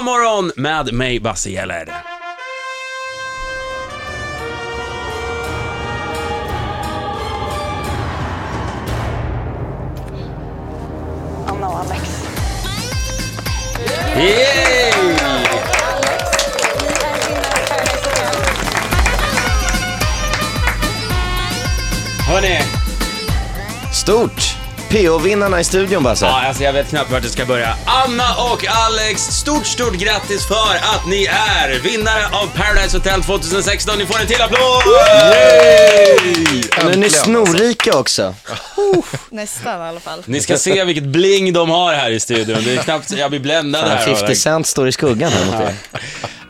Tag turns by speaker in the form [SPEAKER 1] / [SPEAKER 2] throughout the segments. [SPEAKER 1] morgon med mig, Basse Gäller.
[SPEAKER 2] Oh no, Alex.
[SPEAKER 1] Yay! Hörni,
[SPEAKER 3] Stort! PO-vinnarna i studion Basse.
[SPEAKER 1] ja, alltså jag vet knappt vart det ska börja. Anna och Alex, stort, stort grattis för att ni är vinnare av Paradise Hotel 2016. Ni får en till applåd!
[SPEAKER 3] Men ni är snorrika också.
[SPEAKER 4] Nästan i alla fall.
[SPEAKER 1] Ni ska se vilket bling de har här i studion. Det är knappt, jag blir bländad
[SPEAKER 3] Fan,
[SPEAKER 1] här. av
[SPEAKER 3] 50
[SPEAKER 1] det.
[SPEAKER 3] Cent står i skuggan här mot er.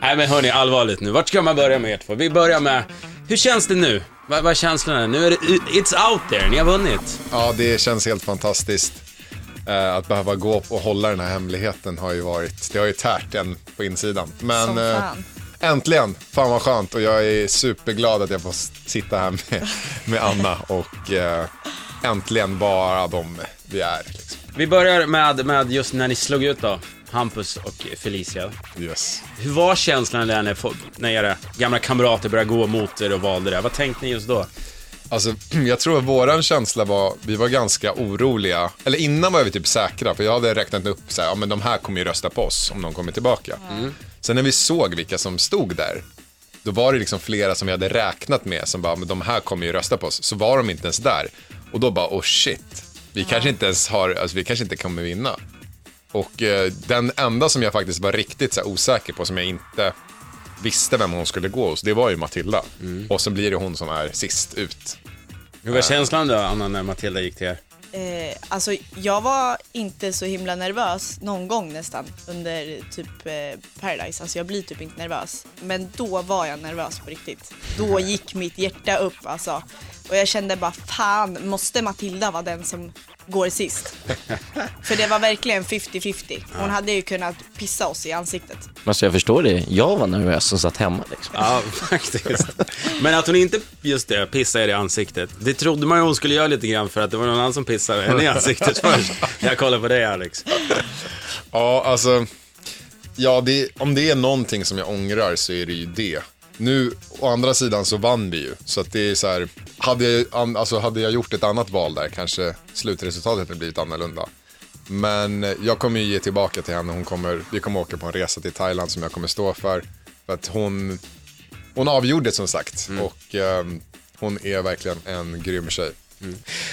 [SPEAKER 1] Nej men hörni, allvarligt nu. Vart ska man börja med er två? Vi börjar med, hur känns det nu? Vad vad är känslorna? Nu är det, it's out there, ni har vunnit.
[SPEAKER 5] Ja, det känns helt fantastiskt. Eh, Att behöva gå och hålla den här hemligheten har ju varit, det har ju tärt en på insidan. Men
[SPEAKER 4] Som
[SPEAKER 5] eh,
[SPEAKER 4] fan.
[SPEAKER 5] äntligen, fan vad skönt och jag är superglad att jag får s- sitta här med, med Anna och eh, äntligen vara de vi är. Liksom.
[SPEAKER 1] Vi börjar med, med just när ni slog ut då, Hampus och Felicia.
[SPEAKER 5] Yes.
[SPEAKER 1] Hur var känslan där när, folk, när era gamla kamrater började gå mot er och valde det? Vad tänkte ni just då?
[SPEAKER 5] Alltså, jag tror att våran känsla var, vi var ganska oroliga. Eller innan var vi typ säkra, för jag hade räknat upp så här, ja men de här kommer ju rösta på oss om de kommer tillbaka. Sen när vi såg vilka som stod där, då var det liksom flera som vi hade räknat med som bara, men de här kommer ju rösta på oss. Så var de inte ens där. Och då bara, oh shit, vi kanske inte ens har, alltså vi kanske inte kommer vinna. Och eh, den enda som jag faktiskt var riktigt så här, osäker på, som jag inte visste vem hon skulle gå hos, det var ju Matilda. Och sen blir det hon som är sist ut.
[SPEAKER 1] Hur var känslan då, Anna, när Matilda gick till er?
[SPEAKER 4] Eh, alltså, jag var inte så himla nervös någon gång nästan under typ eh, Paradise. Alltså jag blir typ inte nervös. Men då var jag nervös på riktigt. Då gick mitt hjärta upp alltså. Och jag kände bara fan, måste Matilda vara den som går sist? För det var verkligen 50-50. Hon hade ju kunnat pissa oss i ansiktet.
[SPEAKER 3] Alltså jag förstår det. Jag var nervös som satt hemma liksom.
[SPEAKER 1] Ja, faktiskt. Men att hon inte, just det, pissade er i ansiktet. Det trodde man ju hon skulle göra lite grann för att det var någon annan som pissade henne i ansiktet först. Jag kollar på dig Alex.
[SPEAKER 5] Ja, alltså. Ja, det, om det är någonting som jag ångrar så är det ju det. Nu, å andra sidan så vann vi ju. Så att det är så här, hade jag, an- alltså, hade jag gjort ett annat val där kanske slutresultatet hade blivit annorlunda. Men eh, jag kommer ju ge tillbaka till henne. Hon kommer, vi kommer åka på en resa till Thailand som jag kommer stå för. För att hon, hon avgjorde som sagt. Och ehm, hon är verkligen en grym tjej.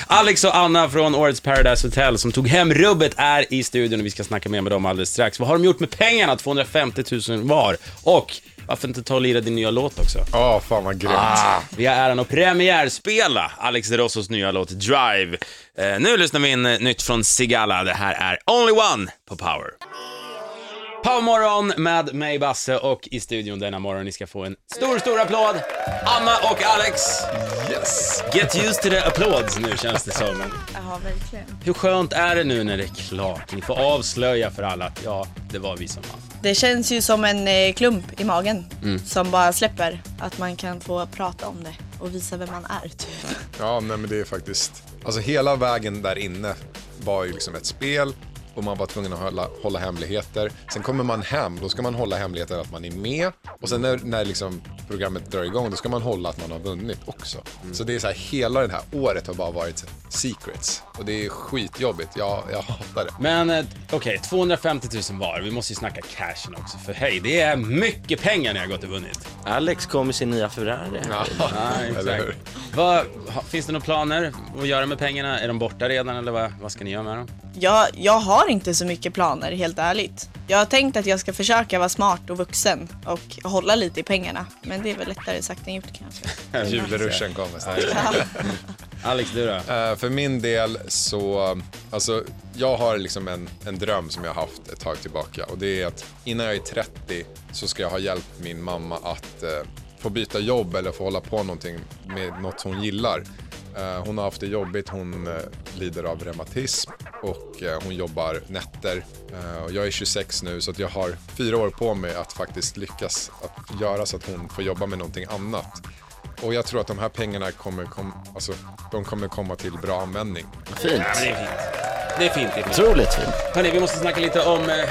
[SPEAKER 1] Alex och Anna från årets Paradise Hotel som tog hem rubbet är i studion och vi ska snacka mer med dem alldeles strax. Vad har de gjort med pengarna? 250 000 var. Och varför inte ta och lira din nya låt också?
[SPEAKER 5] Ja, fan vad grymt.
[SPEAKER 1] Ah, vi har äran att premiärspela Alex de Rossos nya låt Drive. Eh, nu lyssnar vi in eh, nytt från Sigala. Det här är Only One på Power. Powermorgon med mig, Basse, och i studion denna morgon. Ni ska få en stor, stor applåd. Anna och Alex.
[SPEAKER 5] Yes.
[SPEAKER 1] Get used to the applauds nu, känns det som.
[SPEAKER 4] Ja, verkligen.
[SPEAKER 1] Hur skönt är det nu när det är klart? Ni får avslöja för alla att ja, det var vi som vann.
[SPEAKER 4] Det känns ju som en eh, klump i magen som bara släpper. Att man kan få prata om det och visa vem man är typ.
[SPEAKER 5] Ja, nej, men det är faktiskt... Alltså hela vägen där inne var ju liksom ett spel och man var tvungen att hålla, hålla hemligheter. Sen kommer man hem, då ska man hålla hemligheten att man är med och sen när, när liksom programmet drar igång, då ska man hålla att man har vunnit också. Så det är så här, hela det här året har bara varit secrets och det är skitjobbigt. Jag, jag hatar det.
[SPEAKER 1] Men eh, okej, 250 000 var. Vi måste ju snacka cashen också, för hej, det är mycket pengar ni har gått och vunnit.
[SPEAKER 3] Alex kom i sin nya Ferrari.
[SPEAKER 5] Eller hur?
[SPEAKER 1] Vad, ha- finns det några planer att göra med pengarna? Är de borta redan eller vad, vad ska ni göra med dem?
[SPEAKER 4] Jag, jag har inte så mycket planer helt ärligt. Jag har tänkt att jag ska försöka vara smart och vuxen och hålla lite i pengarna. Men det är väl lättare sagt än gjort kanske.
[SPEAKER 5] Julruschen kommer snart.
[SPEAKER 1] Alex, du då?
[SPEAKER 5] Eh, för min del så, alltså jag har liksom en, en dröm som jag har haft ett tag tillbaka och det är att innan jag är 30 så ska jag ha hjälpt min mamma att eh, få byta jobb eller få hålla på någonting med något hon gillar. Eh, hon har haft det jobbigt, hon eh, lider av reumatism och eh, hon jobbar nätter. Eh, och jag är 26 nu så att jag har fyra år på mig att faktiskt lyckas att göra så att hon får jobba med någonting annat. Och jag tror att de här pengarna kommer, kom, alltså, de kommer komma till bra användning.
[SPEAKER 3] Fint.
[SPEAKER 1] Det är fint. Det är fint. Det är fint.
[SPEAKER 3] Otroligt fint.
[SPEAKER 1] Hörni, vi måste snacka lite om eh,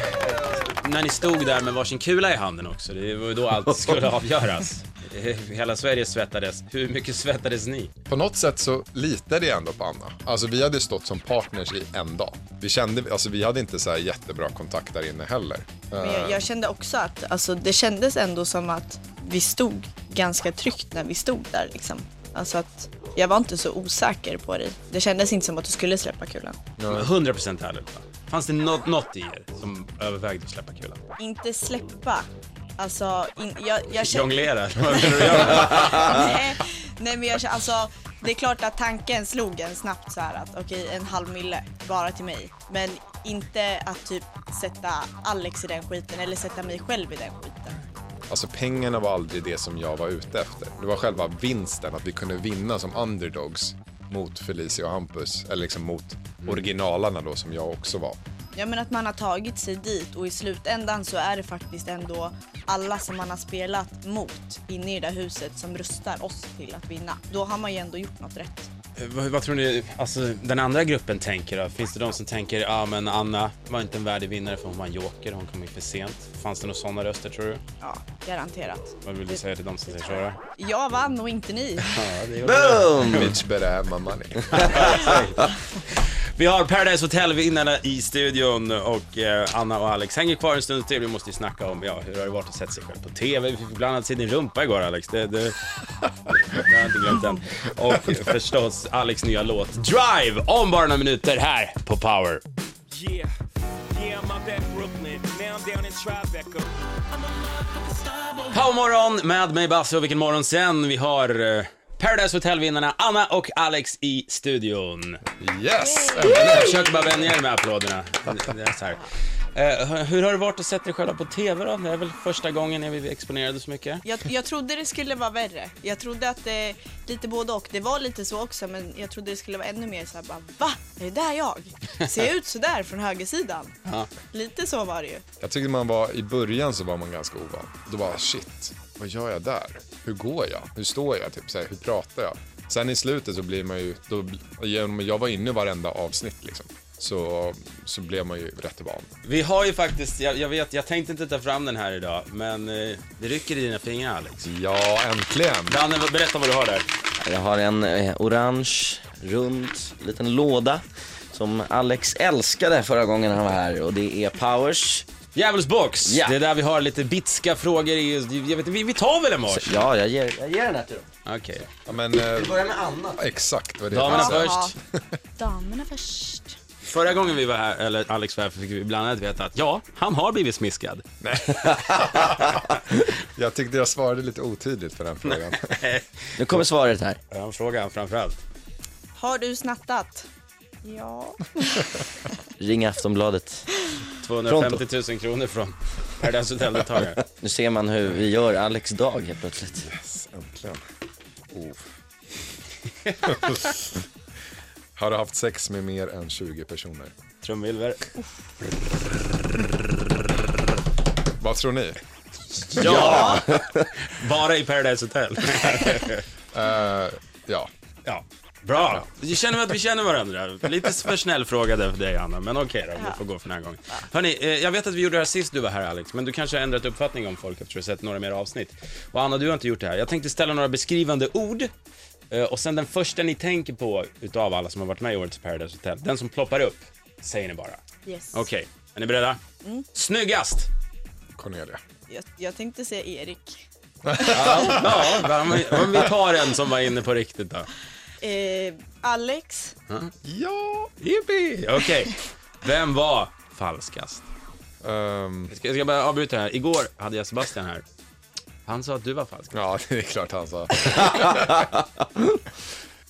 [SPEAKER 1] när ni stod där med varsin kula i handen också. Det var ju då allt skulle avgöras. Eh, Hela Sverige svettades. Hur mycket svettades ni?
[SPEAKER 5] På något sätt så litade jag ändå på Anna. Alltså vi hade stått som partners i en dag. Vi kände, alltså vi hade inte så här jättebra kontakt där inne heller.
[SPEAKER 4] Men jag, jag kände också att, alltså, det kändes ändå som att vi stod ganska tryggt när vi stod där liksom. Alltså att jag var inte så osäker på dig. Det kändes inte som att du skulle släppa kulan.
[SPEAKER 1] 100% ärligt va? Fanns det något, något i er som övervägde att släppa kulan?
[SPEAKER 4] Inte släppa. Alltså, in, jag, jag kände...
[SPEAKER 1] Jonglera? Vad menar du att göra?
[SPEAKER 4] Nej, nej men jag känner, alltså det är klart att tanken slog en snabbt så här att okej en halv mille bara till mig. Men inte att typ sätta Alex i den skiten eller sätta mig själv i den skiten.
[SPEAKER 5] Alltså pengarna var aldrig det som jag var ute efter. Det var själva vinsten, att vi kunde vinna som underdogs mot Felicia och Hampus. Eller liksom mot originalarna då som jag också var.
[SPEAKER 4] Ja men att man har tagit sig dit och i slutändan så är det faktiskt ändå alla som man har spelat mot inne i det där huset som rustar oss till att vinna. Då har man ju ändå gjort något rätt.
[SPEAKER 1] Eh, Vad, vad tror ni alltså, den andra gruppen tänker då? Finns det de som tänker ja ah, men Anna var inte en värdig vinnare för hon var en joker, hon kom in för sent. Fanns det några sådana röster tror du?
[SPEAKER 4] Ja, garanterat.
[SPEAKER 1] Vad vill du säga till de som säger så? då?
[SPEAKER 4] Jag vann och inte ni.
[SPEAKER 3] Boom!
[SPEAKER 5] Bitch better have my money.
[SPEAKER 1] Vi har Paradise Hotel-vinnarna i studion och eh, Anna och Alex hänger kvar en stund till. Vi måste ju snacka om ja, hur har det varit att sätta sig själv på TV. Vi fick bland annat se din rumpa igår Alex. Det, det, det har jag inte glömt än. Och förstås Alex nya låt Drive om bara några minuter här på Power.
[SPEAKER 6] Yeah, yeah, I'm up at Brooklyn. Now I'm down in Tribeca.
[SPEAKER 1] Powermorgon med mig Basse och vilken morgon sen. Vi har eh, Paradise Hotel-vinnarna Anna och Alex i studion.
[SPEAKER 5] Yes!
[SPEAKER 1] Jag försöker bara vänja er med applåderna. Det är så här. Eh, hur- hur har det varit att sätta dig själva på TV då? Det är väl första gången jag blev exponerad så mycket.
[SPEAKER 4] Jag, jag trodde det skulle vara värre. Jag trodde att det lite både och. Det var lite så också men jag trodde det skulle vara ännu mer så här bara va? Är det där jag? Ser jag ut så där från högersidan?
[SPEAKER 1] Ja.
[SPEAKER 4] Lite så var det ju.
[SPEAKER 5] Jag tyckte man var, i början så var man ganska ovan. Då bara shit, vad gör jag där? Hur går jag? Hur står jag? Typ så här, hur pratar jag? Sen i slutet så blir man ju, då, genom- jag var inne i varenda avsnitt liksom. Så, så blev man ju rätt van.
[SPEAKER 1] Vi har ju faktiskt, jag, jag vet, jag tänkte inte ta fram den här idag, men eh, det rycker i dina fingrar Alex.
[SPEAKER 5] Ja, äntligen!
[SPEAKER 1] Danne, berätta vad du har där.
[SPEAKER 3] Jag har en eh, orange, rund, liten låda som Alex älskade förra gången han var här och det är Powers.
[SPEAKER 1] Djävulsbox,
[SPEAKER 3] Ja.
[SPEAKER 1] det är där vi har lite bitska frågor i, jag vet, vi, vi tar väl en vars?
[SPEAKER 3] Ja, jag ger, jag ger den här till dem.
[SPEAKER 1] Okej.
[SPEAKER 5] Ja, men, eh,
[SPEAKER 3] Börja med Anna.
[SPEAKER 5] exakt vad det
[SPEAKER 1] Damerna
[SPEAKER 5] är.
[SPEAKER 1] först.
[SPEAKER 7] Damerna först.
[SPEAKER 1] Förra gången vi var här, eller Alex var här, fick vi bland annat veta att ja, han har blivit smiskad.
[SPEAKER 5] Jag tyckte jag svarade lite otydligt på den frågan.
[SPEAKER 3] Nu kommer svaret här.
[SPEAKER 1] Den frågan framförallt.
[SPEAKER 4] Har du snattat? Ja.
[SPEAKER 3] Ring Aftonbladet.
[SPEAKER 1] 250 000 kronor från Paradise Hotel-deltagare.
[SPEAKER 3] Nu ser man hur vi gör Alex dag helt plötsligt.
[SPEAKER 5] äntligen. Oh. Har du haft sex med mer än 20 personer?
[SPEAKER 1] Trumvirvel.
[SPEAKER 5] Vad tror ni?
[SPEAKER 1] Ja! Bara i Paradise Hotel.
[SPEAKER 5] Eh, ja,
[SPEAKER 1] Ja. Bra! Jag känner att vi känner varandra. Lite för snäll fråga där för dig, Anna, men okej då, vi får gå för den här gången. Hörni, eh, jag vet att vi gjorde det här sist du var här, Alex, men du kanske har ändrat uppfattning om folk efter att du har sett några mer avsnitt. Och Anna, du har inte gjort det här. Jag tänkte ställa några beskrivande ord eh, och sen den första ni tänker på utav alla som har varit med i årets Paradise Hotel, den som ploppar upp, säger ni bara.
[SPEAKER 4] Yes.
[SPEAKER 1] Okej, är ni beredda? Snyggast!
[SPEAKER 5] Cornelia.
[SPEAKER 4] Jag, jag tänkte säga Erik.
[SPEAKER 1] Ja, men om vi- om vi tar en som var inne på riktigt då.
[SPEAKER 4] Eh, Alex.
[SPEAKER 5] Ja!
[SPEAKER 1] Jippi! Okej. Vem var falskast?
[SPEAKER 5] Ehm,
[SPEAKER 1] Jag ska, jag ska bara avbryta här. Igår hade jag Sebastian här. Han sa att du var falsk.
[SPEAKER 5] ja, det är klart han sa.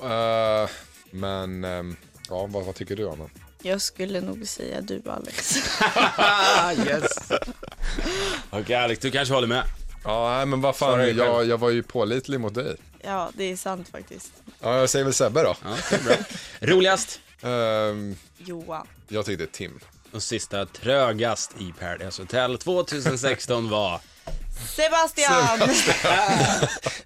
[SPEAKER 5] Eh, men, ehm, ja, vad, vad tycker du om den?
[SPEAKER 4] Jag skulle nog säga du Alex.
[SPEAKER 1] yes. Okej Alex, du kanske håller med?
[SPEAKER 5] Ja, nej, men vad fan,
[SPEAKER 1] Svara dig
[SPEAKER 5] jag,
[SPEAKER 1] själv.
[SPEAKER 5] jag var ju pålitlig mot dig.
[SPEAKER 4] ja, det är sant faktiskt.
[SPEAKER 5] Ja, jag säger väl Sebbe då.
[SPEAKER 1] Ja, det är bra. Roligast?
[SPEAKER 5] Ehm,
[SPEAKER 4] Johan.
[SPEAKER 5] jag tyckte Tim.
[SPEAKER 1] Och sista trögast i Paradise Hotel 2016 var...
[SPEAKER 4] Sebastian!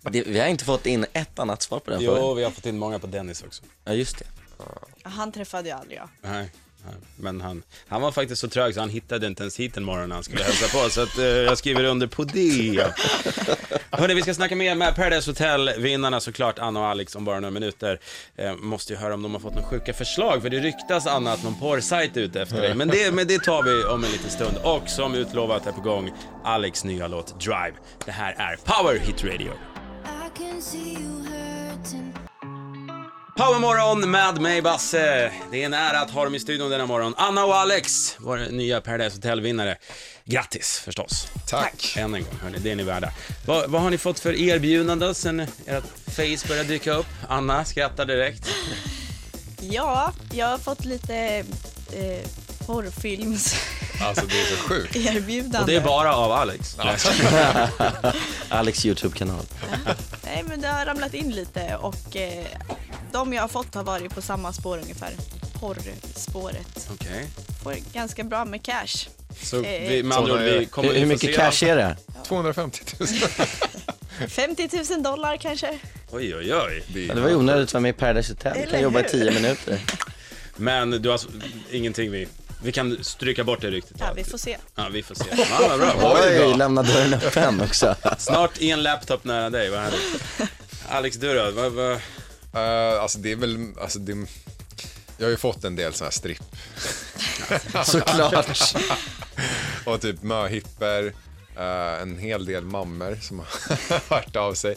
[SPEAKER 3] Det, vi har inte fått in ett annat svar på den frågan.
[SPEAKER 1] vi har fått in många på Dennis också.
[SPEAKER 3] Ja, just det.
[SPEAKER 4] Han träffade jag aldrig jag.
[SPEAKER 1] Nej. Men han, han var faktiskt så trög så han hittade inte ens hit en morgon när han skulle hälsa på, så att, eh, jag skriver under på det. Hörni, vi ska snacka mer med Paradise Hotel-vinnarna såklart, Anna och Alex, om bara några minuter. Eh, måste ju höra om de har fått några sjuka förslag, för det ryktas Anna att någon porrsajt är ute efter dig. Men det, men det tar vi om en liten stund. Och som utlovat är på gång, Alex nya låt Drive. Det här är Power Hit Radio.
[SPEAKER 8] I can see you hurting.
[SPEAKER 1] Powermorgon med mig Basse. Det är en ära att ha dem i studion denna morgon. Anna och Alex, vår nya Paradise Hotel-vinnare. Grattis förstås.
[SPEAKER 5] Tack.
[SPEAKER 1] Än en gång, hörni, det är ni värda. Vad, vad har ni fått för erbjudanden sen ert face började dyka upp? Anna skrattar direkt.
[SPEAKER 4] Ja, jag har fått lite eh, porrfilms-erbjudande.
[SPEAKER 5] Alltså det är så sjukt. Alltså,
[SPEAKER 1] Och det är bara av Alex.
[SPEAKER 3] Alex YouTube-kanal.
[SPEAKER 4] Nej, men det har ramlat in lite och eh, de jag har fått har varit på samma spår ungefär. Porrspåret.
[SPEAKER 1] Okej.
[SPEAKER 4] Får ganska bra med cash.
[SPEAKER 1] Så vi, med andra ord, vi kommer
[SPEAKER 3] Hur, hur mycket cash är det?
[SPEAKER 5] 250 000.
[SPEAKER 4] 50 000 dollar kanske.
[SPEAKER 1] Oj, oj, oj.
[SPEAKER 5] Det
[SPEAKER 3] Ja,
[SPEAKER 5] är-
[SPEAKER 3] det var ju onödigt att vara med i Paradise Hotel. Vi kan
[SPEAKER 4] Eller
[SPEAKER 3] jobba i
[SPEAKER 4] hur?
[SPEAKER 3] tio minuter.
[SPEAKER 1] Men du har s- ingenting vi... Vi kan stryka bort det ryktet.
[SPEAKER 4] Ja, vi får se.
[SPEAKER 1] Ja, vi får se. Ja, vad bra.
[SPEAKER 3] Oj, lämna dörren öppen också.
[SPEAKER 1] Snart i en laptop nära dig, vad härligt. Alex, du då? Vad, vad...
[SPEAKER 5] Eh, alltså det är väl, alltså det, jag har ju fått en del såna här stripp
[SPEAKER 3] Såklart.
[SPEAKER 5] och typ möhipper, eh, en hel del mammor som har hört av sig.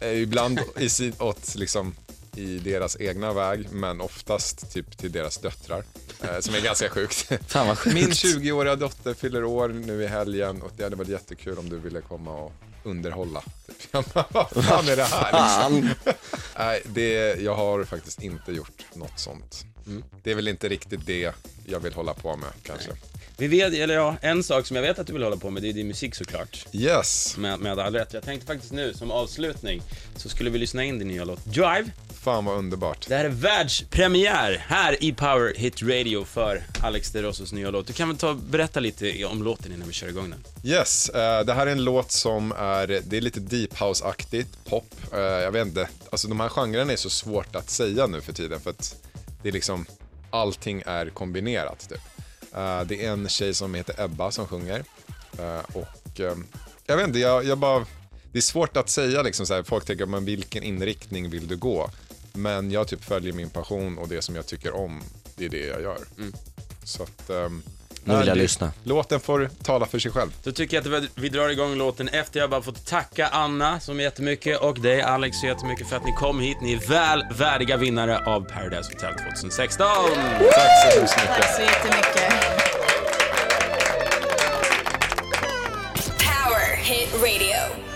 [SPEAKER 5] Eh, ibland i, si- åt, liksom, i deras egna väg, men oftast typ till deras döttrar, eh, som är ganska sjukt.
[SPEAKER 3] Fan vad sjukt.
[SPEAKER 5] Min 20-åriga dotter fyller år nu i helgen och det hade varit jättekul om du ville komma och underhålla. Typ. Jag bara, Vad fan är det här?
[SPEAKER 3] Fan.
[SPEAKER 5] Nej, det, jag har faktiskt inte gjort något sånt.
[SPEAKER 3] Mm.
[SPEAKER 5] Det är väl inte riktigt det jag vill hålla på med kanske.
[SPEAKER 1] Vi vet, eller ja, en sak som jag vet att du vill hålla på med, det är din musik såklart.
[SPEAKER 5] Yes,
[SPEAKER 1] Med, med all rätt. Jag tänkte faktiskt nu, som avslutning, så skulle vi lyssna in din nya låt Drive.
[SPEAKER 5] fan vad underbart.
[SPEAKER 1] Det här är världspremiär här i Power Hit Radio för Alex De Rossos nya låt. Du kan väl ta och berätta lite om låten innan vi kör igång den.
[SPEAKER 5] Yes, eh, det här är en låt som är, det är lite deep house-aktigt, pop. Eh, jag vet inte, alltså de här genrerna är så svårt att säga nu för tiden för att det är liksom, allting är kombinerat typ. Eh, det är en tjej som heter Ebba som sjunger. Eh, och eh, jag vet inte, jag, jag bara, det är svårt att säga liksom så här, folk tänker, men vilken inriktning vill du gå? Men jag typ följer min passion och det som jag tycker om, det är det jag gör. Så att, ehm,
[SPEAKER 3] Mm. Nu vill jag
[SPEAKER 5] det-
[SPEAKER 3] lyssna.
[SPEAKER 5] Låten får tala för sig själv.
[SPEAKER 1] Då tycker jag att vi- vi drar igång låten efter jag bara fått tacka Anna så jättemycket och dig Alex så jättemycket för att ni kom hit. Ni är väl värdiga vinnare av Paradise Hotel 2016!
[SPEAKER 5] Tack så hemskt mycket.
[SPEAKER 4] Tack så jättemycket.
[SPEAKER 9] Power Hit Radio.